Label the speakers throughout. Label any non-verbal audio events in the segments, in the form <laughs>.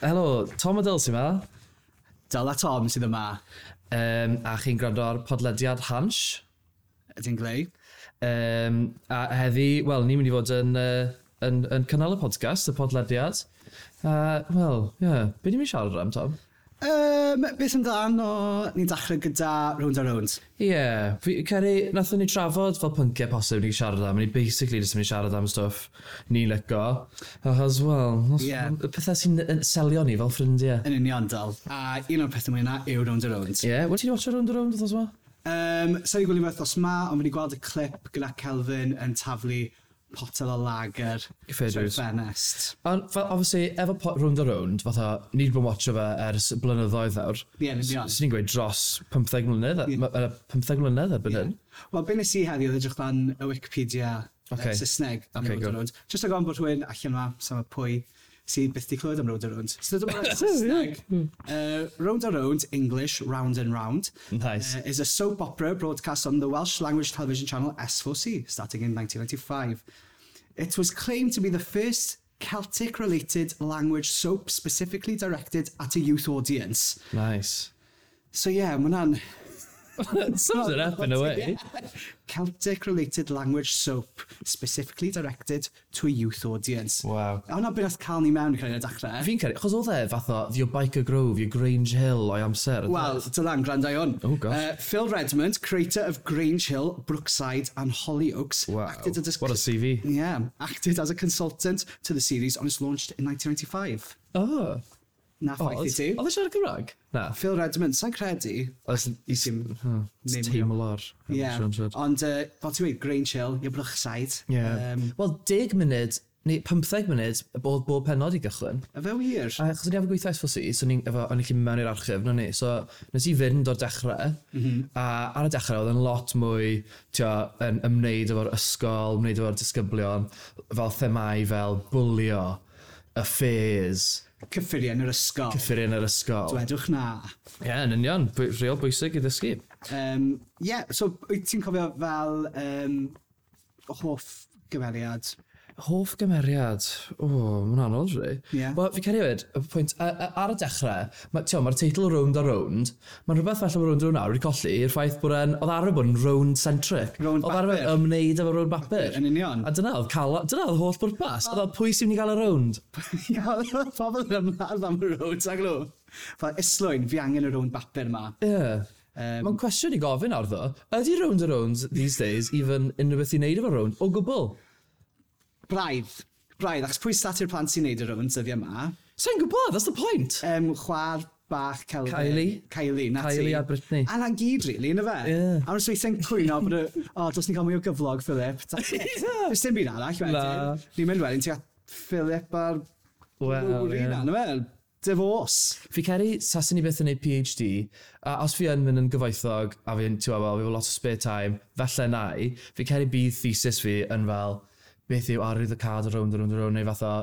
Speaker 1: Helo, Tom Adel sy'n ma.
Speaker 2: Dyla Tom sydd yma.
Speaker 1: Um, a chi'n gwrando ar podlediad Hansh.
Speaker 2: Ydy'n glei.
Speaker 1: Um, a heddi, wel, ni'n mynd i fod yn, uh, yn, yn cynnal y podcast, y podlediad. Uh, wel, ie, yeah. be ni'n mynd i siarad am, Tom?
Speaker 2: Um, beth amdan o ni'n dachrau gyda Round a Round?
Speaker 1: Ie, yeah, fi- Ceri, nath ni trafod fel pynciau posib ni'n siarad am, ni basically jyst yn mynd i siarad am stwff ni'n lico, achos, wel,
Speaker 2: Ie.
Speaker 1: yeah. pethau sy'n yn selio ni fel ffrindiau. Ie,
Speaker 2: Yn union dyl. A un o'r pethau mwy na yw Round a Round.
Speaker 1: yeah, wedi ni watcha round o round, wrth yma?
Speaker 2: Um, Sa'n i gwylio wythnos ma, ond wedi gweld y clip gyda Kelvin yn taflu potel o lager
Speaker 1: Fair
Speaker 2: trwy'r
Speaker 1: dues.
Speaker 2: ffenest.
Speaker 1: Ond, fel, obviously, efo po- round o round, fatha, ni wedi bod yn watcho fe ers blynyddoedd nawr.
Speaker 2: Ie, yn union.
Speaker 1: S- Swn i'n gweud dros 15 mlynedd,
Speaker 2: Ie.
Speaker 1: yeah. 15 mlynedd erbyn hyn.
Speaker 2: Wel, be nes i heddi oedd edrych lan y Wikipedia okay.
Speaker 1: Okay.
Speaker 2: Saesneg am
Speaker 1: Okay,
Speaker 2: okay, Road
Speaker 1: good.
Speaker 2: and Round. Just ag on bod rhywun allan yma, sam y pwy, sydd byth di clywed am Road and Round. So dyma o'r Saesneg. Uh, round and Round, English, Round and Round,
Speaker 1: Nice.
Speaker 2: uh, is a soap opera broadcast on the Welsh language television channel S4C, starting in 1995. It was claimed to be the first Celtic-related language soap specifically directed at a youth audience.
Speaker 1: Nice. <laughs>
Speaker 2: So yeah, mae hwnna'n
Speaker 1: Sums it up in a way.
Speaker 2: Celtic related language soap specifically directed to a youth audience.
Speaker 1: Wow.
Speaker 2: A hwnna beth nath cael ni mewn cyn y dachrau.
Speaker 1: Fi'n credu, achos oedd e fatha, your Biker Grove, your Grange Hill o'i amser. ynde?
Speaker 2: Wel, dylan, grandau hwn.
Speaker 1: Oh, gosh.
Speaker 2: Uh, Phil Redmond, creator of Grange Hill, Brookside and Hollyoaks.
Speaker 1: Wow.
Speaker 2: Acted as
Speaker 1: What a CV.
Speaker 2: Yeah, acted as a consultant to the series on its launch in 1995.
Speaker 1: Oh.
Speaker 2: Na
Speaker 1: O, Oh,
Speaker 2: ffaith i ti.
Speaker 1: Oedd e siarad Cymraeg? Na.
Speaker 2: Phil Redmond, sa'n credu.
Speaker 1: Oes i sy'n
Speaker 2: Name
Speaker 1: teimlo lor.
Speaker 2: Yeah. Ond, uh, fel ti'n dweud, Grange Hill, your Brookside.
Speaker 1: Yeah.
Speaker 2: Um,
Speaker 1: Wel, 10 munud, neu 15 munud, bod bob penod i gychwyn.
Speaker 2: a fe wir?
Speaker 1: A achos o'n i efo gweithio S4C, so o'n i'n efo- o'n i'n lle mewn i'r archif, no ni. So, nes i fynd o'r dechrau, a ar y dechrau oedd yn lot mwy tio, yn ymwneud efo'r ysgol, ymwneud efo'r disgyblion, fel themau fel bwlio, affairs,
Speaker 2: Cyffuriau yn yr ysgol.
Speaker 1: cyffurie yn yr ysgol. Ie,
Speaker 2: Dwedwch na.
Speaker 1: yeah, yn union, bwy- reol bwysig i ddysgu.
Speaker 2: Um, yeah, so wyt ti'n cofio fel um, hoff gymeriad?
Speaker 1: Hoff gymeriad. O, oh, mae'n anodd rhi.
Speaker 2: Ie.
Speaker 1: Wel, fi ceri wedi, y pwynt, a- a- ar y dechrau, ma, tio, mae'r teitl Round a Round, mae'n rhywbeth falle bod Round a Round nawr wedi colli i'r ffaith bod e'n, oedd arfer bod yn round-centric.
Speaker 2: Rownd
Speaker 1: Oedd arfer
Speaker 2: bapur.
Speaker 1: ymwneud efo round bapur.
Speaker 2: Yn union.
Speaker 1: A dyna oedd cael, dyna oedd holl bwrpas. Oedd o pwy sy'n mynd i gael y round?
Speaker 2: <laughs> Ia, oedd y pobl yn ymladd am y road, sa'n glw. Fel islwyn, fi angen y rown bapur ma.
Speaker 1: Ie.
Speaker 2: Um,
Speaker 1: Mae'n cwestiwn i gofyn ar ddo, ydy round a round these days even unrhyw beth i wneud efo round o gwbl?
Speaker 2: braidd. Braidd, achos pwy statu'r plant sy'n neud y rown dyddiau yma?
Speaker 1: Sa'n gwybod, that's the point.
Speaker 2: Um, chwar bach Kelvin.
Speaker 1: Kylie.
Speaker 2: Kylie, na ti.
Speaker 1: Kylie a Brittany.
Speaker 2: A na'n gyd, rili, really, na fe?
Speaker 1: Ie.
Speaker 2: A mae'n sweithio'n cwyno bod y... O, dos ni'n cael mwy o gyflog, Philip.
Speaker 1: <laughs> Ie.
Speaker 2: Fes dim byd arall,
Speaker 1: Na.
Speaker 2: wedyn. Ni'n mynd wedyn, ti at Philip a'r...
Speaker 1: Wel,
Speaker 2: Wr-
Speaker 1: ie.
Speaker 2: hynna, na fe? Divorce. <laughs>
Speaker 1: Fi ceri sasyn i beth yn neud PhD, a os fi yn mynd yn gyfoethog, a fi'n, ti'n gwbod, fel, fi efo lot o spare time, falle na i, fi ceri bydd thesis fi yn fel, beth yw arwydd y cad o rownd, rownd, rownd, neu fatha,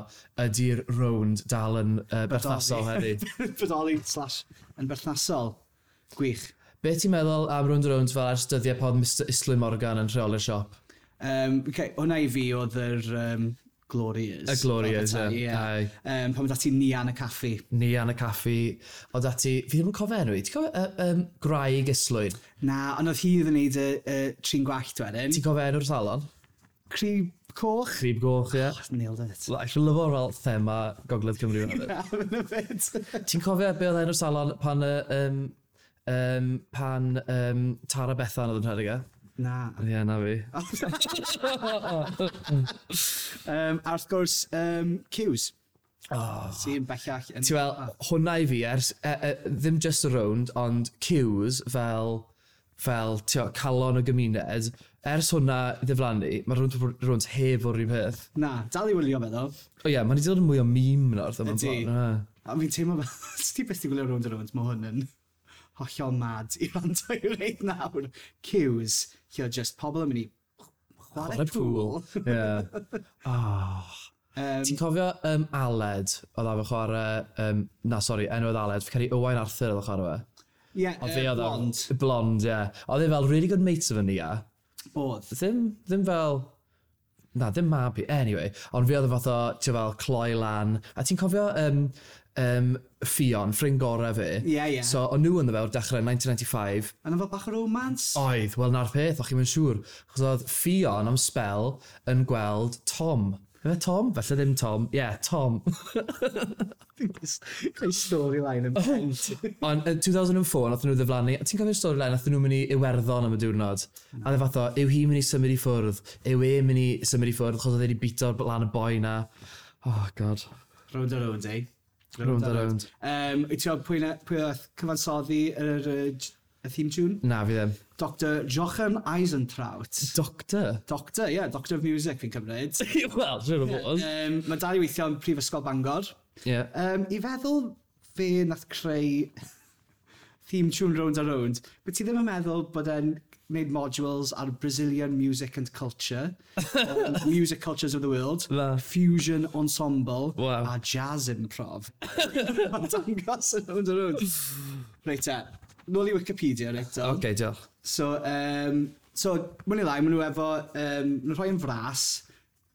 Speaker 1: ydy'r rownd dal yn uh, berthnasol heddi.
Speaker 2: Bodoli slash yn berthnasol. Gwych.
Speaker 1: Beth ti'n meddwl am rownd, rownd fel ers dyddiau pod Mr Islwyn Morgan yn rheol y siop?
Speaker 2: Um, okay, hwnna i fi oedd yr um, Glorious.
Speaker 1: Y Glorious, ie. Aye.
Speaker 2: Um, pan dati ni yn y caffi.
Speaker 1: Ni an y caffi, o dati, fi ddim yn cofio enw i, ti'n cofio uh, um, graig Islwyn?
Speaker 2: Na, ond oedd hi ddim yn neud y, y trin gwallt wedyn.
Speaker 1: Ti'n cofio enw'r salon?
Speaker 2: Cri coch.
Speaker 1: Crib goch, ie. Yeah.
Speaker 2: Nailed <laughs> it.
Speaker 1: Like, I love fel thema Gogledd Cymru fan <laughs> hyn.
Speaker 2: Na, yn y byd.
Speaker 1: Ti'n cofio be oedd enw'r salon pan y... Um, um, pan um, Tara Bethan oedd yn hyrwyd e?
Speaker 2: Na.
Speaker 1: Ie, na fi.
Speaker 2: Um, a wrth gwrs, um, Cews.
Speaker 1: Oh.
Speaker 2: Ti'n bellach. yn-
Speaker 1: Ti'n fel, hwnna i fi, ers, e, e, ddim just y rownd, ond cues fel, fel tio, calon o gymuned, ers hwnna i ddiflannu, mae rownd rownd heb o'r un peth.
Speaker 2: Na, dal i wylio fe ddo.
Speaker 1: O ie, mae'n i ddod yn mwy o mîm nawr, ddim yn
Speaker 2: Ydi.
Speaker 1: blaen. na.
Speaker 2: A fi'n teimlo fel, <laughs> os ti beth i gwylio round and round, mae hwn yn hollol mad i rando i reit nawr. Cues, lle oedd just pobl yn mynd i
Speaker 1: What a
Speaker 2: chwarae
Speaker 1: pool. <laughs>
Speaker 2: pŵl.
Speaker 1: Ie. Oh.
Speaker 2: Um,
Speaker 1: Ti'n cofio um, Aled, oedd efo chwarae, um, na sori, enw oedd Aled, fi'n cael ei Owain Arthur oedd o chwarae fe.
Speaker 2: Ie,
Speaker 1: Oedd
Speaker 2: yy,
Speaker 1: fe oedd
Speaker 2: blond.
Speaker 1: o- Blond, ie. Oedd e fel really good mates efo ni, ia.
Speaker 2: Oedd.
Speaker 1: Ddim, ddim fel... Na, ddim mab i. Anyway, ond fi oedd y fath o, ti fel, cloi lan. A ti'n cofio um, um, Fion, ffrind gorau fe.
Speaker 2: Ie, ie.
Speaker 1: So, o'n nhw ynddo fe o'r dechrau 1995.
Speaker 2: A na fel bach o romance.
Speaker 1: <laughs> Oedd, wel na'r peth, o'ch chi'n mynd siŵr. Chos oedd Fion am spel yn gweld Tom. Fe Tom? Felly ddim Tom. Ie, yeah, Tom.
Speaker 2: Creu storyline yn bent.
Speaker 1: Ond yn 2004, nath nhw ddiflannu, a ti'n cofio'r storyline, nath nhw mynd i Iwerddon am y diwrnod. A dde fatho, yw hi mynd i symud i ffwrdd, yw e mynd i symud i ffwrdd, chos oedd wedi bito lan y boi na. Oh, god.
Speaker 2: Round a round, eh?
Speaker 1: Rownd a rownd.
Speaker 2: Um, Wyt ti'n gwybod pwy na- pwy oedd cyfansoddi yr yy, j- y theme tune?
Speaker 1: Na, fi ddim.
Speaker 2: Dr Jochen Eisentraut.
Speaker 1: Doctor?
Speaker 2: Doctor, ie, yeah, Doctor of Music fi'n cymryd.
Speaker 1: <laughs> Wel, siwr o fod.
Speaker 2: Um, Mae dal i weithio yn Prifysgol Bangor.
Speaker 1: Ie.
Speaker 2: Um, I feddwl fe nath creu <laughs> theme tune round a round, but ti ddim yn meddwl bod e'n gwneud modules ar Brazilian music and
Speaker 1: <laughs>
Speaker 2: culture, um, music cultures of the world,
Speaker 1: Na.
Speaker 2: fusion ensemble,
Speaker 1: Wow.
Speaker 2: a jazz improv.
Speaker 1: <laughs>
Speaker 2: Mae'n dangos yn round a round. Reit te, nôl i Wikipedia reit o.
Speaker 1: Ok, diolch.
Speaker 2: So, um, so mwyn i lai, maen nhw efo, um, nhw'n rhoi yn fras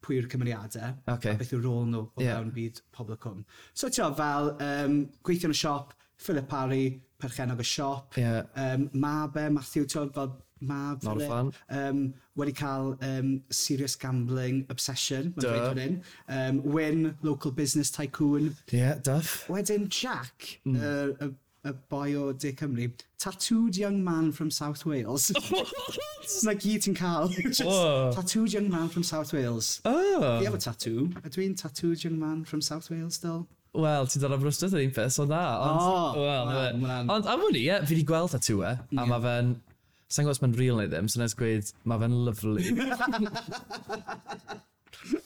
Speaker 2: pwy yw'r cymeriadau.
Speaker 1: Ocê.
Speaker 2: A beth yw'r rôl nhw o
Speaker 1: Ie.
Speaker 2: yeah. fewn byd pobl y cwm. So ti'n gwbod, fel um, gweithio yn y siop, Philip Parry, perchenog y siop,
Speaker 1: Ie.
Speaker 2: um, Mabe, Matthew, ti'n gwbod, fel Mab.
Speaker 1: Not a
Speaker 2: Philip,
Speaker 1: fan.
Speaker 2: Um, wedi cael um, serious gambling obsession, mae'n
Speaker 1: Duh.
Speaker 2: dweud fan hyn. Um, Wyn, local business tycoon.
Speaker 1: Ie, yeah, <laughs> duff.
Speaker 2: Wedyn Jack,
Speaker 1: Hmm.
Speaker 2: mm. uh, y, y boi o De Cymru, tattooed young man from South
Speaker 1: <laughs>
Speaker 2: Wales. Sna gyd ti'n cael. Just
Speaker 1: Whoa.
Speaker 2: tattooed young man from South Wales.
Speaker 1: Oh!
Speaker 2: Fi efo tattoo. Ydw i'n tattooed young man from South Wales still?
Speaker 1: Wel, ti'n dod am rwstod yr un peth, so na. Ond, wel,
Speaker 2: O, wel,
Speaker 1: na fe.
Speaker 2: ma'n-
Speaker 1: Ond am hwnni, ie, fi wedi gweld tattoo e, a mae fe'n... Sa'n gwybod os mae'n real neu ddim, so nes gweud, mae fe'n lyflu.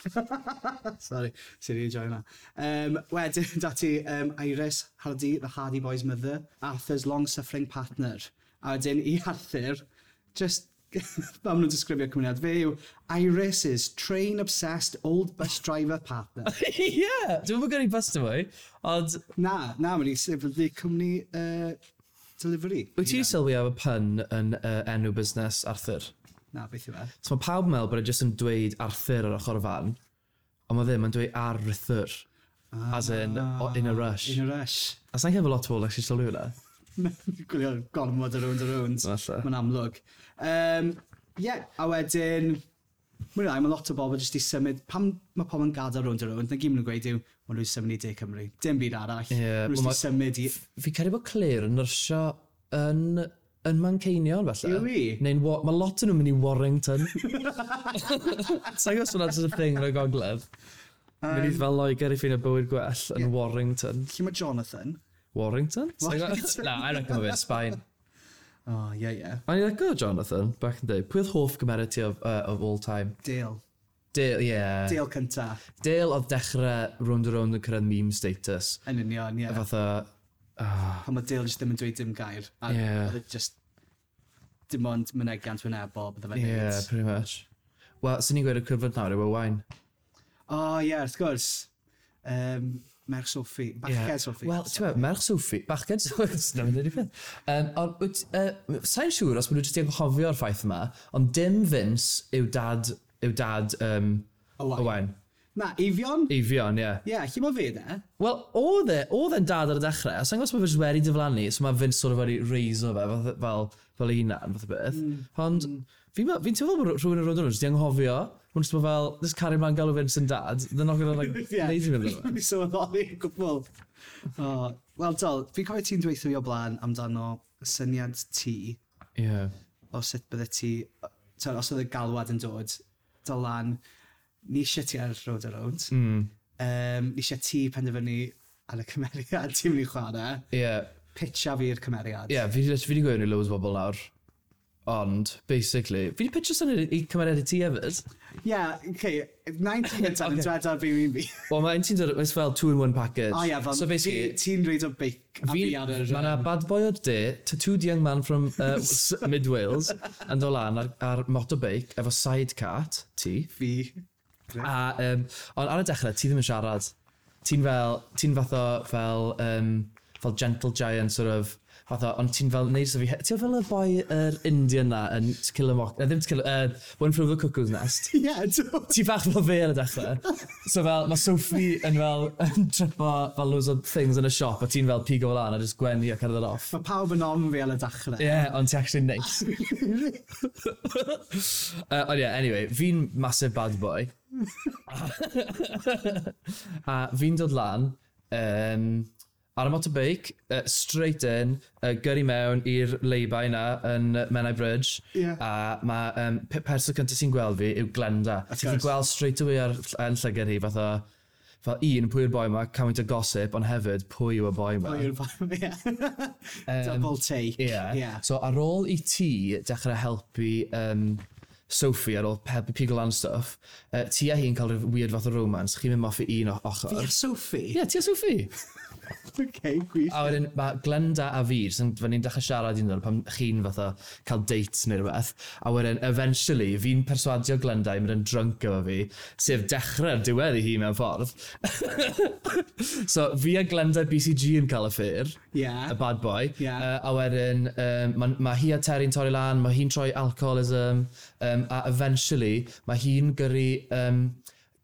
Speaker 2: Sorry, sy'n ei enjoy hwnna. Um, wedyn, <laughs> dati um, Iris Hardy, the Hardy Boy's mother, Arthur's long-suffering partner. A wedyn i Arthur, just <laughs> fel maen nhw'n disgrifio cymryd, fe yw Iris's train-obsessed old bus driver partner.
Speaker 1: <laughs> <laughs> Ie! Dwi'n mynd gyrru bus yma, ond
Speaker 2: Na, na, mae'n i sefydlu cwmni uh, delivery.
Speaker 1: wyt ti'n sylwi am y pun yn uh, enw busnes Arthur?
Speaker 2: Na, beth yw e?
Speaker 1: So mae pawb yn meddwl bod e jyst yn dweud Arthur ar ochr y fan, ond mae ddim yn dweud Arthur, as in, o- in a rush.
Speaker 2: Ah, In a rush.
Speaker 1: A sa'n cael fy lot o bobl actually sylwi hwnna?
Speaker 2: Gwylio gormod ar rownd ar rownd.
Speaker 1: Falle.
Speaker 2: Mae'n amlwg. Um, yeah, a wedyn... Mwyn rai, mae lot o bobl jyst i symud... Pam mae pobl yn gadael rownd ar rownd, na gyd maen nhw'n gweud yw, maen nhw'n symud i De Cymru. Dim byd arall.
Speaker 1: Ie,
Speaker 2: Maen nhw'n
Speaker 1: wel,
Speaker 2: jyst i symud i...
Speaker 1: Fi credu bod Claire yn nyrsio yn, yn Manceinion, falle.
Speaker 2: Yw hi?
Speaker 1: Neu'n, wa- mae lot yn nhw'n mynd i
Speaker 2: <laughs>
Speaker 1: Warrington. Sa'n gwybod swn that's a thing yn y gogledd. mynd i fel Loegr i ffeindio bywyd gwell yn Warrington.
Speaker 2: Lle mae Jonathan?
Speaker 1: Warrington? Sa'n gwbod-
Speaker 2: Warrington.
Speaker 1: Na, I reckon mae'n Sbaen.
Speaker 2: O, oh, ie, yeah, ie. Yeah.
Speaker 1: O'n i'n go Jonathan, back in the day. Pwy oedd hoff gymeriad ti of, uh, of all time?
Speaker 2: Dale.
Speaker 1: Dale, yeah. Dale,
Speaker 2: Dale cynta.
Speaker 1: Dale oedd dechrau round a round yn cyrraedd meme status.
Speaker 2: Yn union, ie.
Speaker 1: A
Speaker 2: Yeah.
Speaker 1: fatha,
Speaker 2: Pan mae Dale jyst ddim yn dweud dim gair. A
Speaker 1: Ie.
Speaker 2: oedd e Just dim ond mynegiant yn ebo, bydde fe'n
Speaker 1: yeah,
Speaker 2: neud.
Speaker 1: pretty much. Wel, sy'n ni'n gweud y cryfod nawr yw y wain.
Speaker 2: O, ie, wrth gwrs. Um, Merch Sophie. Bachau yeah. Sophie.
Speaker 1: Wel, ti'n meddwl, merch Sophie, bachgen Sophie, na mynd i'r ffyn. Um, ond, wyt- yy, sa'n siŵr os bod nhw jyst yn cofio'r ffaith yma, ond dim Vince yw dad, yw dad um,
Speaker 2: Owain.
Speaker 1: Owain.
Speaker 2: Na, Ifion? Ie,
Speaker 1: Eifion, ie. Yeah.
Speaker 2: yeah, lle mae fe de?
Speaker 1: Wel, oedd e, oedd e'n dad ar y dechrau, a sa'n gwybod bod fe'n wedi diflannu, so mae Vince sort of wedi reiso fe, fel, fel, fel ei hunan, fath o beth. Ond, fi'n fi teimlo bod rhywun yn rhywun yn rhywun yn anghofio, hwn jyst bod fel, this carry man galw Vince yn dad, they're not gonna, like, neud i fynd yma.
Speaker 2: Fi sylweddoli yn gwbl. O, Wel, dal, fi'n cofio ti'n dweithio fi o blaen amdano y syniad ti
Speaker 1: Ie.
Speaker 2: o sut bydde ti, ta, os oedd y galwad yn dod, dal lan, ni eisiau ti ar road a road. Mm.
Speaker 1: Hmm.
Speaker 2: Um, ni eisiau ti penderfynu ar y cymeriad <laughs> ti'n mynd i chwarae.
Speaker 1: Ie.
Speaker 2: Pitcha fi'r cymeriad.
Speaker 1: Ie, fi wedi fi wedi gweud i loads o bobl nawr. Ond, basically, fi wedi pitcho syniad i cymeriad i ti hefyd.
Speaker 2: Yeah, okay.
Speaker 1: <laughs>
Speaker 2: 19 gyntaf yn dredad fi fi'n fi.
Speaker 1: Wel, mae'n ti'n dod, it's fel two in one package.
Speaker 2: O ia,
Speaker 1: so basically,
Speaker 2: ti'n dweud o beic a fi
Speaker 1: fi,
Speaker 2: ar yr...
Speaker 1: mae yna bad boy o de, tattooed young man from uh, <laughs> S- mid Wales, yn dod lan ar, ar motorbike efo sidecat, ti.
Speaker 2: Fi.
Speaker 1: A, um, ond ar y dechrau, ti ddim yn siarad. Ti'n fel, ti'n fatho fel, um, fel gentle giant, sort of, fatha, ond ti'n fel neud sef fi, ti'n fel y boi yr Indian na yn To Kill a Mock, na ddim To Kill, uh, One Flew Over the Cuckoo's Nest.
Speaker 2: Yeah, do.
Speaker 1: Ti bach fel fe yn y dechrau. So fel, mae Sophie yn fel, yn tripo fel loads of things yn y siop, a ti'n fel pigo fel an a just gwenu a cerdded off.
Speaker 2: Mae pawb yn ofn fi ar y dachrau.
Speaker 1: Ie, yeah, ond ti actually neis. uh, ond ie, yeah, anyway, fi'n massive bad boy. a fi'n dod lan, um, ar y motorbike, uh, straight in, uh, gyrru mewn i'r lay-by na yn uh, Menai Bridge.
Speaker 2: <laughs> Ie.
Speaker 1: A mae um, pe- person cyntaf sy'n gweld fi yw Glenda. A ti'n
Speaker 2: course.
Speaker 1: gweld straight away ar yn llygad hi, fatha, fel un, pwy yw'r boi yma, cawint o gossip, ond hefyd, pwy yw y boi yma.
Speaker 2: Oh, you're fine,
Speaker 1: <laughs>
Speaker 2: yeah. Double take.
Speaker 1: Ie.
Speaker 2: Yeah.
Speaker 1: So ar ôl i ti dechrau helpu um, Sophie ar ôl helpu pigo lan stuff, uh, ti a hi'n cael rhyw weird fath o romance, chi'n mynd off i un o
Speaker 2: Fi
Speaker 1: ochr.
Speaker 2: a Sophie.
Speaker 1: Ie, Ah. ti a Sophie.
Speaker 2: Okay, gwych.
Speaker 1: A wedyn, mae Glenda a fi, sy'n fan ni'n dechrau siarad un o'r pan chi'n fatha cael dates neu rhywbeth, a wedyn, eventually, fi'n perswadio Glenda i mynd yn drunk efo fi, sef dechrau'r diwedd i hi mewn ffordd. <laughs> so, fi a Glenda BCG yn cael y ffyr
Speaker 2: Yeah.
Speaker 1: y bad boy.
Speaker 2: Ie.
Speaker 1: Uh, a wedyn, um, mae ma hi a Terry'n torri lan, mae hi'n troi alcoholism, um, a eventually, mae hi'n gyrru um,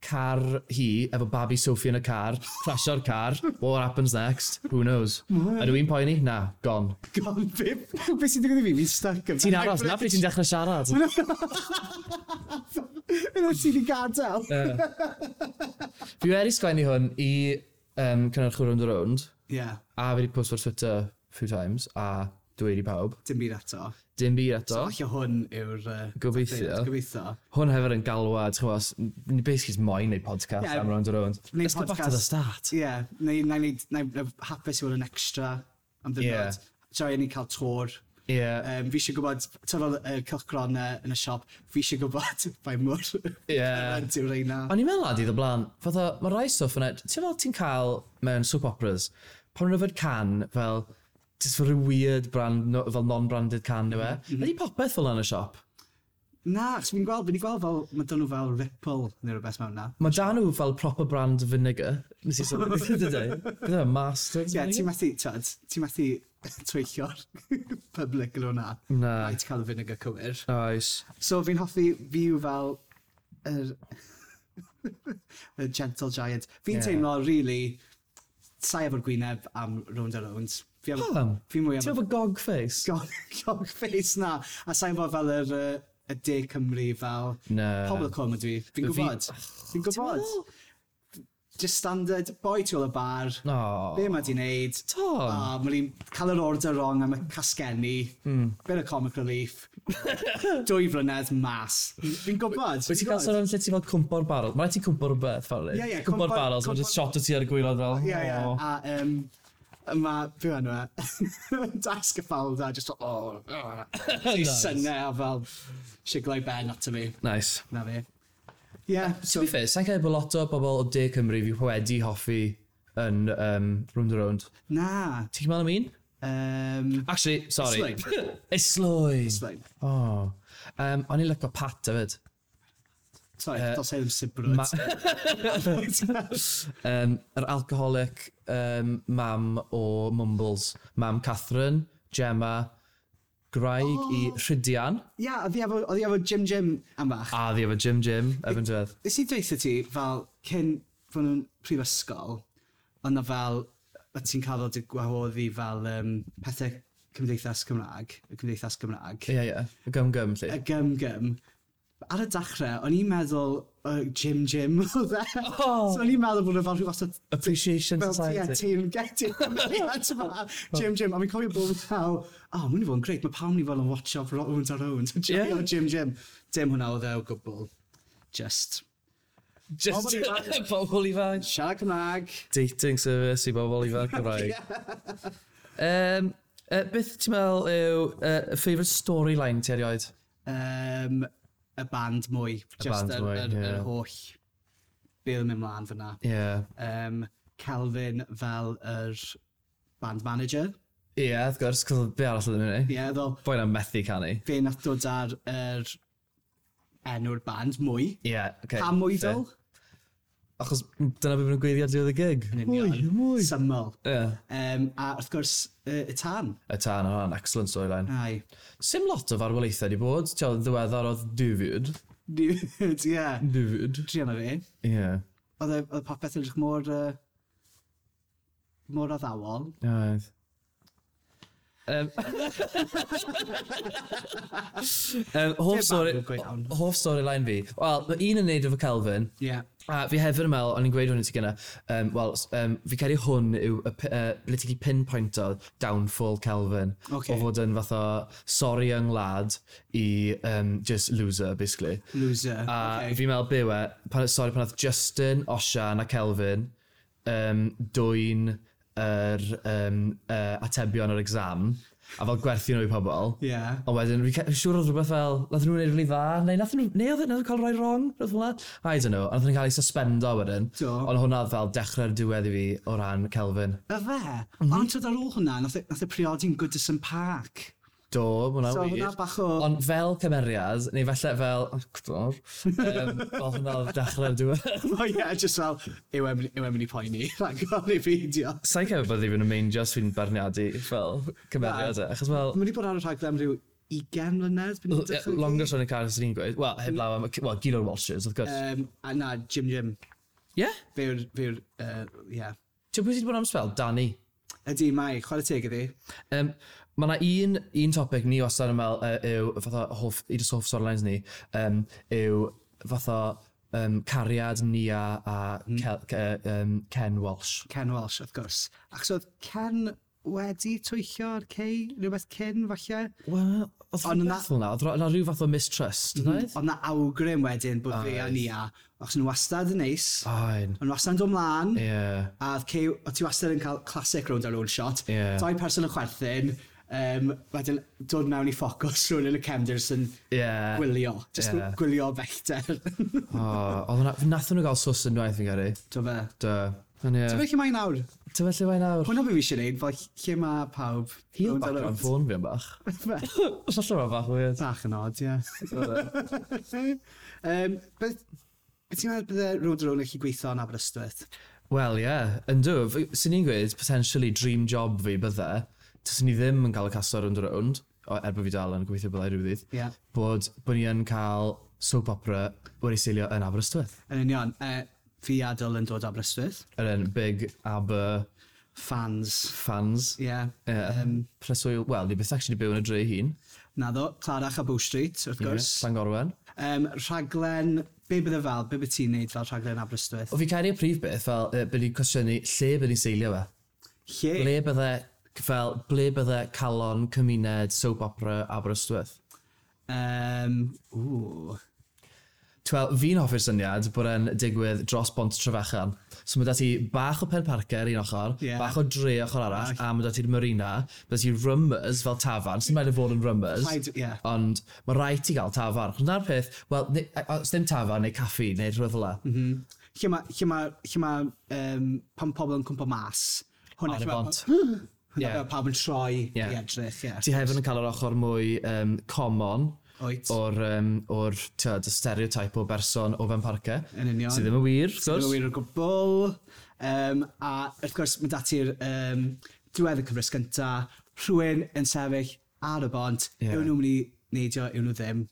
Speaker 1: car hi, efo babi Sophie yn y car, crasio'r car, what happens next, who knows. Ydw i'n poeni? Na, gone.
Speaker 2: Gon, be, be sy'n digwydd i fi? Fi'n stuck yn...
Speaker 1: Ti'n aros, na pryd ti'n dechrau siarad.
Speaker 2: Yn oes ti'n gadael?
Speaker 1: Fi wedi sgwennu hwn i um, cynnyrchwyr round the round,
Speaker 2: Yeah,
Speaker 1: a fi wedi post for Twitter few times, a dweud i pawb.
Speaker 2: dim byd eto.
Speaker 1: Dim byd eto.
Speaker 2: Falle hwn yw'r... uh,
Speaker 1: Gobeithio.
Speaker 2: Gobeithio.
Speaker 1: Hwn hefyd yn galwad, chi'n gwybod, ni basically jyst moyn neud podcast
Speaker 2: Yeah.
Speaker 1: am round and round.
Speaker 2: Neud
Speaker 1: Let's go back to the
Speaker 2: podcast.
Speaker 1: start.
Speaker 2: Ie, neu na i hapus i fod yn extra am
Speaker 1: Ie.
Speaker 2: ddiwrnod. Joy ni cael tor.
Speaker 1: Yeah,
Speaker 2: Um, fi eisiau gwybod, tyn o'n uh, cilchgronau yn y siop, fi eisiau gwybod <laughs> bai mor
Speaker 1: yeah.
Speaker 2: ydyw reina.
Speaker 1: O'n i'n meddwl adi, ddo blaen, fatha, mae rai stwff yna, ti'n fel ti'n cael mewn soap operas, pan rhyfod can, fel, just for a weird brand, no, fel non-branded can yw e,
Speaker 2: Mhm,
Speaker 1: ydi popeth fel yn y siop.
Speaker 2: Na, chos fi'n gweld, fi'n gweld fel, mae dyn nhw fel Ripple neu rhywbeth mewn na.
Speaker 1: Mae dan nhw fel proper brand vinegar, nes i sôn,
Speaker 2: <laughs>
Speaker 1: dydy, dydy, master.
Speaker 2: Ie, ti'n methu, tyd, ti'n methu <laughs> tweillio'r <laughs> public yn hwnna.
Speaker 1: Na.
Speaker 2: Rhaid ti cael y vinegar cywir.
Speaker 1: Oes.
Speaker 2: So fi'n hoffi fyw fel yr <laughs> y gentle giant.
Speaker 1: Ie.
Speaker 2: Fi'n yeah. teimlo, really, sai efo'r gwyneb am round a round. Fi am-
Speaker 1: Pam?
Speaker 2: fi mwy am
Speaker 1: Ti'n efo gog
Speaker 2: <laughs>
Speaker 1: face?
Speaker 2: gog, gog face na. A sai efo fel yr yy, y De Cymru fel
Speaker 1: Na.
Speaker 2: pobl y cwm ydw i. Fi'n
Speaker 1: Fi-
Speaker 2: gwybod. Fi'n gwybod. Just standard, boi tu ôl y bar.
Speaker 1: No.
Speaker 2: Be mae di wneud?
Speaker 1: Tom.
Speaker 2: A mae ni'n cael yr order wrong am y casgenni.
Speaker 1: Hmm.
Speaker 2: Mm. Bit of comic
Speaker 1: <laughs>
Speaker 2: relief. Dwy flynedd mas. Fi'n gwybod.
Speaker 1: Wyt ti'n cael sôn am lle ti fel cwmpo'r barol? Mae'n rhaid ti cwmpo'r beth, ffordd?
Speaker 2: Ie, ie,
Speaker 1: Cwmpo'r
Speaker 2: cwmpo'r-
Speaker 1: barol, so mae'n just shot o ti ar y gwylod fel.
Speaker 2: Ie, ie.
Speaker 1: "Oh."
Speaker 2: A um, mae, fi fan yma, e? <laughs> dasg y ffawl da, just o, oh,
Speaker 1: <laughs>
Speaker 2: oh.
Speaker 1: Nice.
Speaker 2: synnau a fel, siglau ben ato fi.
Speaker 1: Nice.
Speaker 2: Na fi. Ie,
Speaker 1: Uh, To
Speaker 2: so,
Speaker 1: be fair, sa'n cael bod lot o bobl o De Cymru fi wedi hoffi yn um, Round and Round.
Speaker 2: na.
Speaker 1: Ti'n meddwl am un?
Speaker 2: Um,
Speaker 1: Actually, sorry. <laughs>
Speaker 2: Islwyn.
Speaker 1: Islwyn.
Speaker 2: Sorry,
Speaker 1: Oh. Um, o'n i'n lyco Pat hefyd.
Speaker 2: sorry, dos ei ddim sibrwyd.
Speaker 1: ma- <laughs> Um, yr alcoholic um, mam o Mumbles. Mam Catherine, Gemma, Graig oh. i Rhydian.
Speaker 2: Ie, oedd hi efo- oedd hi efo Jim Jim am bach.
Speaker 1: A ddi efo Jim Jim, efo'n dwedd.
Speaker 2: Nes i dweud ti fel cyn fod nhw'n prifysgol, ond na fel, a ti'n cael ddod i gwahoddi fel um, pethau cymdeithas Cymraeg, y cymdeithas Cymraeg,
Speaker 1: Ie, ie. Gym gym,
Speaker 2: y
Speaker 1: lle.
Speaker 2: gym-gym, ar y dachrau, o'n i'n meddwl uh, Jim Jim <laughs> oedd e. So o'n i'n meddwl bod nhw fel rhyw fath o...
Speaker 1: Appreciation
Speaker 2: Fel ti a
Speaker 1: Society.
Speaker 2: ti'n getio
Speaker 1: <laughs>
Speaker 2: cymeriad yma. Jim Jim, a fi'n cofio bod fel, o, oh, mynd i fod yn greit, mae pawb ni fel yn watch off round ar round. <laughs>
Speaker 1: Ie.
Speaker 2: Jim Jim Jim. Dim hwnna oedd e o gwbl. Just
Speaker 1: Just
Speaker 2: Pobl <laughs> ifanc.
Speaker 1: pobl ifanc.
Speaker 2: siarad Cymraeg.
Speaker 1: Dating service i bobl
Speaker 2: <laughs>
Speaker 1: ifanc Cymraeg. um, uh, beth ti'n meddwl yw uh, favourite storyline ti erioed?
Speaker 2: um, y band mwy. Y
Speaker 1: band
Speaker 2: yr,
Speaker 1: mwy,
Speaker 2: yr,
Speaker 1: ie.
Speaker 2: yr holl bil mynd mlaen fyna.
Speaker 1: Ie. Yeah.
Speaker 2: Um, Calvin fel yr band manager.
Speaker 1: Ie, yeah, of course, cos be arall ydyn ni?
Speaker 2: Ie, yeah, ddo,
Speaker 1: Boi'n am methu canu. Ie,
Speaker 2: fe nath dod ar yr enw'r band mwy.
Speaker 1: yeah, okay.
Speaker 2: Pa mwy
Speaker 1: fair.
Speaker 2: dol?
Speaker 1: O, achos dyna beth nhw'n gweithio diwedd y gig.
Speaker 2: Mwy, mwy. Syml.
Speaker 1: Ie.
Speaker 2: Um, a wrth gwrs, uh, y tan.
Speaker 1: Y tan o ran, excellent storyline.
Speaker 2: Ai.
Speaker 1: Sim lot o farwolaethau di bod. Ti'n oedd ddiweddar oedd Dufiwyd.
Speaker 2: Dude, <laughs> ie.
Speaker 1: Dufiwyd.
Speaker 2: Triana fi.
Speaker 1: Ie.
Speaker 2: Oedd y- oedd popeth yn edrych mor... Uh, mor addawol.
Speaker 1: Oedd. Um, um, hoff stori...
Speaker 2: Go iawn.
Speaker 1: Hoff storyline fi. Wel, ma' un yn neud efo Calvin.
Speaker 2: Ie.
Speaker 1: A fi hefyd yn meddwl, o'n i'n gweud hwn i ti gyna, um, wel, s- um, fi credu hwn yw y p- uh, literally pinpoint o downfall Calvin.
Speaker 2: Ocê.
Speaker 1: O fod yn fath o sorry young lad i um, just loser, basically.
Speaker 2: Loser.
Speaker 1: A
Speaker 2: Okay.
Speaker 1: fi'n meddwl byw e, pan, sorry, pan oedd Justin, Osian a Kelvin um, dwy'n yr um, uh, atebion yr exam a fel gwerthu nhw i pobl.
Speaker 2: Ie.
Speaker 1: A wedyn, fi'n ca- fi'n siŵr oedd rhywbeth fel, nath nhw'n neud rili dda, neu nath nhw, neu oedd nhw'n cael rhoi wrong, rhywbeth fel yna. I don't know, a nath nhw'n cael ei suspendo wedyn.
Speaker 2: Do.
Speaker 1: Ond hwnna oedd fel dechrau'r diwedd i fi o ran Kelvin.
Speaker 2: Y fe, ond tyd ar ôl hwnna, nath y- nath y priodi'n Goodison Park.
Speaker 1: Do, ma' hwnna'n
Speaker 2: So
Speaker 1: wir.
Speaker 2: hwnna bach o... <laughs>
Speaker 1: Ond fel cymeriad, neu falle fel, oh, actor, um, oedd hwnna oedd dechrau'r diwedd.
Speaker 2: O ie, just fel, yw e'n yw e'n mynd i poeni, <laughs> rhaid i feidio.
Speaker 1: Sa'n cael bod ddim yn meindio os fi'n barniadu fel cymeriad e, achos fel...
Speaker 2: Mae'n mynd i bod ar y rhaglen rhyw 20 mlynedd, byd ni'n
Speaker 1: Ie,
Speaker 2: dechrau.
Speaker 1: Longer Son y Car sy'n ni'n gweud. Wel, heb law am... Wel, Gilo Walshers, wrth gwrs.
Speaker 2: Um, a na, Jim Jim.
Speaker 1: Ie?
Speaker 2: Fe yw'r, fe yw'r, uh, yeah.
Speaker 1: Ti'n pwy sydd wedi bod am spel? Danny.
Speaker 2: Ydy, mae, chwarae teg iddi.
Speaker 1: Um, mae yna un, un topic ni wastad yn meddwl uh, yw, fatha, hoff, un o'r hoff storylines ni, um, yw fatha um, cariad Nia a Kel, Ke- um, Ken Walsh.
Speaker 2: Ken Welsh, wrth gwrs. Ac so, oedd Ken wedi twyllo'r cei, rhywbeth cyn, falle.
Speaker 1: Wel, oedd
Speaker 2: Ond Mhm.
Speaker 1: hwnna'n
Speaker 2: na-
Speaker 1: beth hwnna? Oedd ro- na rhyw fath o mistrust, yn oedd?
Speaker 2: Ond na awgrym wedyn bod fe a Nia, achos nhw wastad yn neis,
Speaker 1: Fine.
Speaker 2: ond wastad yn dod mlaen,
Speaker 1: Ie.
Speaker 2: a oedd cei, o ti wastad yn cael classic round ar own shot.
Speaker 1: Ie.
Speaker 2: Doi person yn chwerthin, um, wedyn dod mewn i ffocws rhywun yn y cefnders yn
Speaker 1: Ie.
Speaker 2: gwylio, just
Speaker 1: Ie.
Speaker 2: gwylio <laughs> fellter.
Speaker 1: O, Oedd hwnna, nath nhw gael sws yn dwaith fi'n gari.
Speaker 2: Do fe.
Speaker 1: Da. Ond ie.
Speaker 2: Ti'n meddwl mae nawr?
Speaker 1: Ti'n felly mae nawr.
Speaker 2: Hwna beth fi eisiau gwneud, fel lle mae pawb.
Speaker 1: Heel
Speaker 2: rownd ar
Speaker 1: back
Speaker 2: rownd.
Speaker 1: o'n ffôn fi'n
Speaker 2: <laughs>
Speaker 1: bach.
Speaker 2: Fe-
Speaker 1: Os allan o'n bach weird.
Speaker 2: Bach yn od, ie. <laughs> Yym, Beth ti'n meddwl bydde road rown yn gallu gweithio yn Aberystwyth?
Speaker 1: Wel, ie. Yndw, f- swn i'n gweud, potentially dream job fi bydde, taswn i ddim yn cael y castor yn rownd, o er bod fi dal yn gobeithio byddai rhyw ddydd,
Speaker 2: Ie.
Speaker 1: bod bod ni yn cael soap opera wedi seilio yn Aberystwyth.
Speaker 2: Yn union, yy, fi a Dyl yn dod o Aberystwyth.
Speaker 1: Yr un big Aber
Speaker 2: Fans,
Speaker 1: fans.
Speaker 2: ie.
Speaker 1: Ie. Preswyl, wel, ni beth actually byw yn y dre hun.
Speaker 2: Naddo, Clarach a Bow Street, wrth gwrs.
Speaker 1: Llangorwen.
Speaker 2: Yym, Rhaglen, be bydde fel, be bydde ti'n neud fel rhaglen Aberystwyth?
Speaker 1: O fi cael ei prif beth, fel, uh, byddi cwestiynu lle byddi seilio fe.
Speaker 2: Lle?
Speaker 1: Ble bydde, fel, ble bydde calon, cymuned, soap opera, Aberystwyth?
Speaker 2: Yym, ww.
Speaker 1: Wel, fi'n hoffi'r syniad bod e'n digwydd dros bont trefechan. So mae da ti bach o pen parker un ochr,
Speaker 2: Ie.
Speaker 1: yeah. bach o dre ochr arall, a mae da ti'r marina, mae da ti rummers fel tafan, sy'n meddwl fod yn rummers.
Speaker 2: Rhaid- ie.
Speaker 1: Ond mae rhaid ti gael tafan. Ond na'r peth, wel, ne- os ddim tafan neu caffi neu rhywbeth fel 'na.
Speaker 2: Lle ma- lle ma- lle ma, yym, pan pobl yn cwmpo mas. Hwnna
Speaker 1: Ar
Speaker 2: lle
Speaker 1: y
Speaker 2: ma-
Speaker 1: bont.
Speaker 2: hwnna
Speaker 1: Ie.
Speaker 2: ble ma' pawb yn troi i
Speaker 1: Ie.
Speaker 2: edrych, ie.
Speaker 1: Ti hefyd yn cael yr ochr mwy um, common
Speaker 2: Wyt.
Speaker 1: o'r, um, o'r tyd, y stereotype o berson o fan parker.
Speaker 2: Yn union.
Speaker 1: Sydd ddim yn wir, wrth
Speaker 2: Dwi'n
Speaker 1: gwrs.
Speaker 2: wir o gwbl. Um, a wrth gwrs, mae dati'r um, diwedd y cyfres gynta. Rhywun yn sefyll ar y bont.
Speaker 1: Ie.
Speaker 2: Yeah. Yw nhw'n mynd i neidio, yw nhw ddim.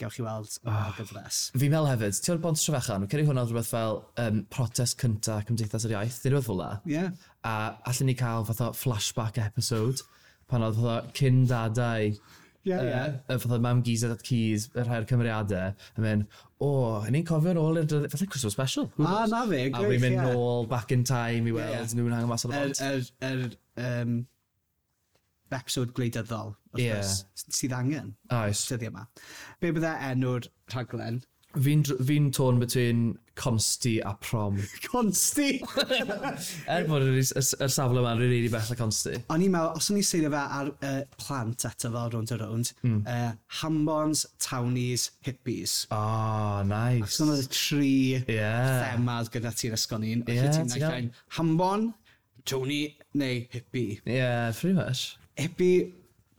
Speaker 2: Gewch chi weld oh.
Speaker 1: Ah.
Speaker 2: y gyfres.
Speaker 1: Fi'n meddwl hefyd, ti o'r bont trefechan, yn ceri hwnna oedd rhywbeth fel um, protest cynta Cymdeithas yr Iaith, ddim rhywbeth fel la.
Speaker 2: Ie. Yeah.
Speaker 1: A allan ni cael fatha flashback episode, pan oedd fatha cyn dadau,
Speaker 2: Ie,
Speaker 1: yy,
Speaker 2: ie.
Speaker 1: y fatha mam gys a dat cys, y rhai'r cymeriadau, yn mynd, o, oh, ni'n cofio yn ôl i'r dydd, fatha Christmas special. who
Speaker 2: Ah,
Speaker 1: knows?
Speaker 2: na fe,
Speaker 1: A
Speaker 2: gwych,
Speaker 1: fi'n mynd
Speaker 2: ie.
Speaker 1: nôl back in time i weld
Speaker 2: Ie, ie.
Speaker 1: nhw'n hangen mas o'r
Speaker 2: Yr
Speaker 1: bont.
Speaker 2: er, er, um, episod gwleidyddol, wrth
Speaker 1: Ie.
Speaker 2: gwrs, s- sydd angen
Speaker 1: Oes.
Speaker 2: dyddi yma. Be bydde enw'r rhaglen? <laughs>
Speaker 1: Fi'n dr- fi'n torn between consti a prom.
Speaker 2: Consti!
Speaker 1: Er bod yr is- y- y safle yma'n rili really bell a consti.
Speaker 2: O'n i'n meddwl, os o'n i'n seilio fe ar uh, plant eto fel rownd a rownd,
Speaker 1: Hmm.
Speaker 2: mm. uh, hambons, townies, hippies.
Speaker 1: Ah, nice.
Speaker 2: So yna y tri
Speaker 1: Ie.
Speaker 2: themad gyda ti'n ysgol ni'n.
Speaker 1: Ie,
Speaker 2: Yeah, ti'n
Speaker 1: ti'n iawn.
Speaker 2: gallu hambon, towni neu hippie.
Speaker 1: Yeah, pretty much.
Speaker 2: Hippie,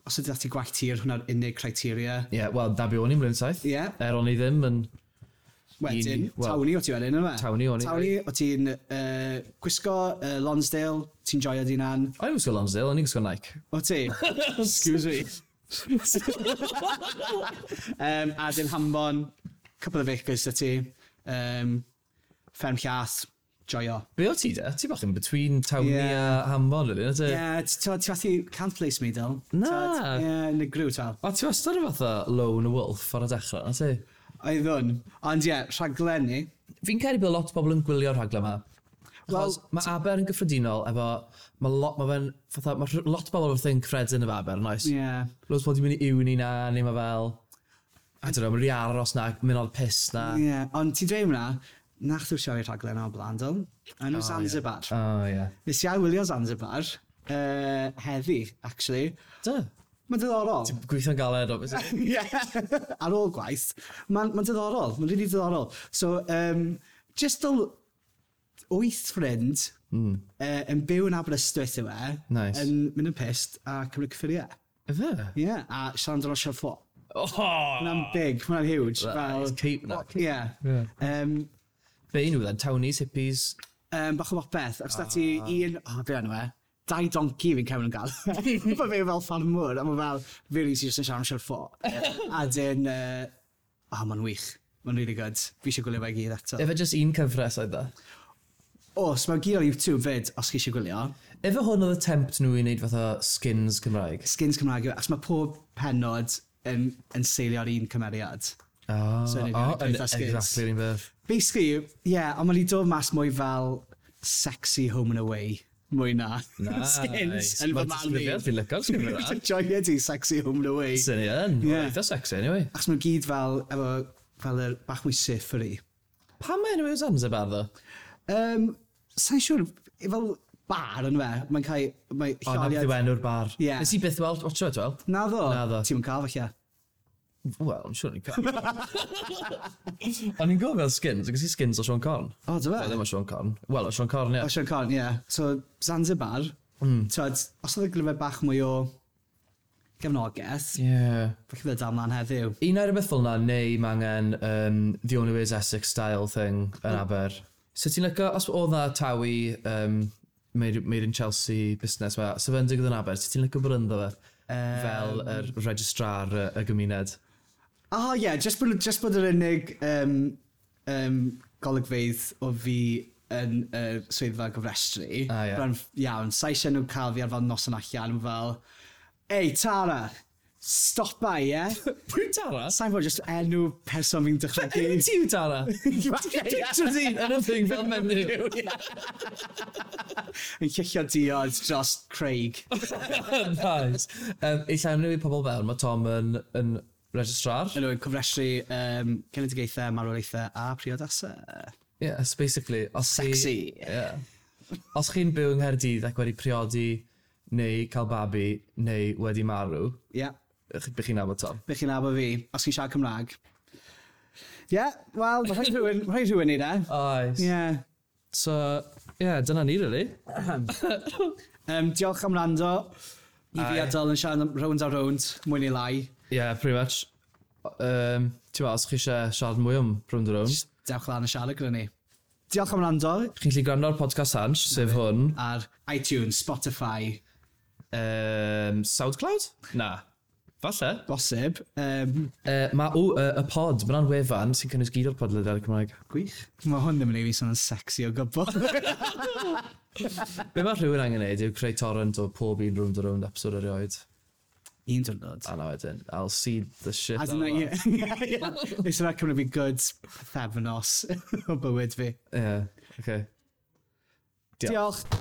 Speaker 2: os ydy dati gwaith tir, hwnna'r unig criteria.
Speaker 1: Yeah, well, da be o'n i'n blwyddyn saith.
Speaker 2: Ie.
Speaker 1: Er o'n i ddim yn
Speaker 2: Wedyn,
Speaker 1: Uni- wel-
Speaker 2: tawni o ti wedyn, yma?
Speaker 1: Tawni o'n i.
Speaker 2: Tawni o ti'n uh, gwisgo uh, Lonsdale, ti'n joio di'n an.
Speaker 1: O'n i'n gwisgo Lonsdale, o'n i'n gwisgo Nike.
Speaker 2: O
Speaker 1: <laughs>
Speaker 2: ti? Excuse me. <laughs> um, a dyn Hambon, couple of acres o ti. Um, Fferm Llath, joio.
Speaker 1: Be o ti de? Ti bach yn between tawni
Speaker 2: Ie.
Speaker 1: a Hambon, ydyn?
Speaker 2: Ie,
Speaker 1: Yeah.
Speaker 2: yeah, ti'n fath can't place me, Dyl.
Speaker 1: Na.
Speaker 2: Ie, yeah, yn y grw, tal.
Speaker 1: A ti wastad yn fatha lone wolf ar y dechrau, na ti?
Speaker 2: Oedd hwn. Ond ie, yeah, rhaglenni.
Speaker 1: Fi'n credu bod lot o bobl yn gwylio'r rhaglen yma.
Speaker 2: Wel,
Speaker 1: Wel, mae Aber yn gyffredinol efo... Mae lot, mae fe'n... fatha- Mae rh- lot o bobl wrth yn cyffredin efo Aber, nice.
Speaker 2: Ie.
Speaker 1: Yeah.
Speaker 2: Yeah.
Speaker 1: Loads o bobl di mynd i uni na, neu mae fel... I don't know, mae'n rhi aros na, mynd o'r piss na.
Speaker 2: Ie, yeah. ond ti'n dweud hwnna, na chdi'n siarad rhaglen o blaen, Dyl. Yn o Zanzibar.
Speaker 1: O, ie.
Speaker 2: Nes i wylio Zanzibar, uh, heddi, actually.
Speaker 1: Da.
Speaker 2: Mae'n diddorol.
Speaker 1: Gweithio'n galed, obviously.
Speaker 2: <laughs> Ie. Ar ôl gwaith. Mae'n ma diddorol. Mae'n rili diddorol. So, um, just o wyth ffrind
Speaker 1: Hmm.
Speaker 2: mm. uh, yn byw yn Aberystwyth yw e.
Speaker 1: Nice.
Speaker 2: Yn mynd yn pist a cymryd cyffuriau.
Speaker 1: Efe?
Speaker 2: Ie, yeah, a siarad yn rosio'r fflo.
Speaker 1: Oh!
Speaker 2: Mae'n big, mae'n huge.
Speaker 1: That is keep na.
Speaker 2: Ie.
Speaker 1: Ie.
Speaker 2: Yym,
Speaker 1: Fe unrhyw then, townies, hippies.
Speaker 2: um, bach o bopeth. Os da ti
Speaker 1: Ah.
Speaker 2: un, o, oh, be enw e, dau donki <laughs> fi'n cael yn gael. Mae fe fel ffarmwr, a mae fel, fi rili sy'n siarad am siarad ffo. A dyn, uh, oh, mae'n wych. Mae'n really good. Fi eisiau gwylio fe i gyd eto.
Speaker 1: Efe just un cyfres oedd e? da.
Speaker 2: Os, mae'n gyd ar YouTube fyd, os chi eisiau gwylio.
Speaker 1: Efe hwn oedd attempt nhw i wneud fatha skins Cymraeg.
Speaker 2: Skins Cymraeg, yw e, achos mae pob penod yn, yn seilio ar un cymeriad.
Speaker 1: Oh,
Speaker 2: So
Speaker 1: oh,
Speaker 2: ni'n gwneud
Speaker 1: yn
Speaker 2: fatha skins.
Speaker 1: exactly un beth.
Speaker 2: Basically, ie, yeah, ond mae'n i dod mas mwy fel sexy home and away. Mwy na. <laughs> Skins. Yn
Speaker 1: Ah,
Speaker 2: fy
Speaker 1: Ma'n
Speaker 2: man
Speaker 1: disgrifiad,
Speaker 2: <laughs> fi.
Speaker 1: Fi'n <laughs> lyco, sgwrdd yna.
Speaker 2: Joio di sexy home and away.
Speaker 1: Sy'n ni yn.
Speaker 2: Ie.
Speaker 1: Eitha sexy, anyway.
Speaker 2: Achos mae'n gyd fel, efo, fel yr bach mwy siff yr i.
Speaker 1: Pam mae enw yw Zanzibar, ddo?
Speaker 2: Um, Sa'n siŵr, i fel bar yn fe, mae'n cael, mae
Speaker 1: O, na beth yw
Speaker 2: lleoliad...
Speaker 1: enw'r bar.
Speaker 2: Ie.
Speaker 1: Nes i byth weld, watch it, wel?
Speaker 2: Na ddo,
Speaker 1: Na ddo.
Speaker 2: ti'n cael falle.
Speaker 1: Wel, I'm sure ni'n cael. O'n i'n gofio skins, ac i skins o Sean Corn.
Speaker 2: O, dy
Speaker 1: Wel, e.
Speaker 2: fe.
Speaker 1: ddim o Sean Corn. Wel, o Sean Corn, ie.
Speaker 2: O, Sean Corn, ie. So, Zanzibar,
Speaker 1: Hmm.
Speaker 2: mm. twyd, os oedd y glyfau bach mwy o gefnogaeth,
Speaker 1: Ie.
Speaker 2: falle fe dal mlaen heddiw.
Speaker 1: Un o'r beth fel na, neu mae angen um, The Only Way is Essex style thing yn Aber. So ti'n lygo, os oedd na tawi um, made, made in Chelsea busnes ma, so fe'n digwydd yn Aber, so ti'n lygo bod ynddo fe? fel yr registrar y, y gymuned.
Speaker 2: O, oh, ie, yeah, just bod, just bod yr unig um, um, golygfeidd o fi yn uh, swyddfa gyfrestru.
Speaker 1: Ah, ie.
Speaker 2: Rhan f- iawn, sa eisiau nhw cael fi ar fel nos yn allan, fel, ei, Tara, stop by,
Speaker 1: <laughs>
Speaker 2: ie? Yeah?
Speaker 1: Pwy Tara?
Speaker 2: Sa'n fawr just enw person fi'n
Speaker 1: Pwy <laughs>
Speaker 2: dychmygu.
Speaker 1: ti yw Tara?
Speaker 2: Picture di
Speaker 1: Yn y thing fel menyw.
Speaker 2: <laughs> yn llillio diod dros
Speaker 1: <laughs>
Speaker 2: Craig.
Speaker 1: Nice. Um, I llawn nhw i pobl fewn, mae Tom yn, yn registrar.
Speaker 2: Yn nhw'n cyfrestru um, cenedigaethau, marwolaethau a priodasau.
Speaker 1: Yeah, it's basically... Os chi-
Speaker 2: Sexy.
Speaker 1: Yeah. Os chi'n byw yng Nghaerdydd ac wedi priodi neu cael babi neu wedi marw,
Speaker 2: Ie. Yeah.
Speaker 1: ych- bych chi'n nabod Tom.
Speaker 2: Be chi'n nabod fi, os chi'n siarad Cymraeg. Ie, yeah, wel, mae rhaid rhywun, rhaid rhywun i da.
Speaker 1: Oes.
Speaker 2: Ie.
Speaker 1: Yeah. So, yeah, dyna ni, really.
Speaker 2: Um, diolch am rando. I fi
Speaker 1: Aye.
Speaker 2: adol yn siarad am rownd a rownd, mwy neu lai.
Speaker 1: Yeah, pretty much. Um, Ti'n meddwl, os chi eisiau siarad mwy am rhwnd yr rhwnd,
Speaker 2: Dewch lan yn siarad gyda ni. Diolch am rando
Speaker 1: chi'n gallu gwrando ar podcast hans, sef hwn,
Speaker 2: ar iTunes, Spotify,
Speaker 1: um, SoundCloud? Na. Falle.
Speaker 2: bosib. Um,
Speaker 1: Uh, mae o, y y pod, mae'n anwefan sy'n cynnwys gyd o'r podlediad Cymraeg.
Speaker 2: gwych. Mae hwn ddim yn ei fi sôn yn sexy o gwbl.
Speaker 1: Be mae rhywun angen neud yw creu torrent o pob un rwnd o rwnd episod erioed.
Speaker 2: <laughs> Un diwrnod.
Speaker 1: A na wedyn, I'll see the shit
Speaker 2: A
Speaker 1: out of
Speaker 2: dyna,
Speaker 1: that.
Speaker 2: ie. <laughs> Nes yna cymryd fi good pethefnos <laughs> o bywyd fi.
Speaker 1: Yeah, okay. Diolch.
Speaker 2: Diolch.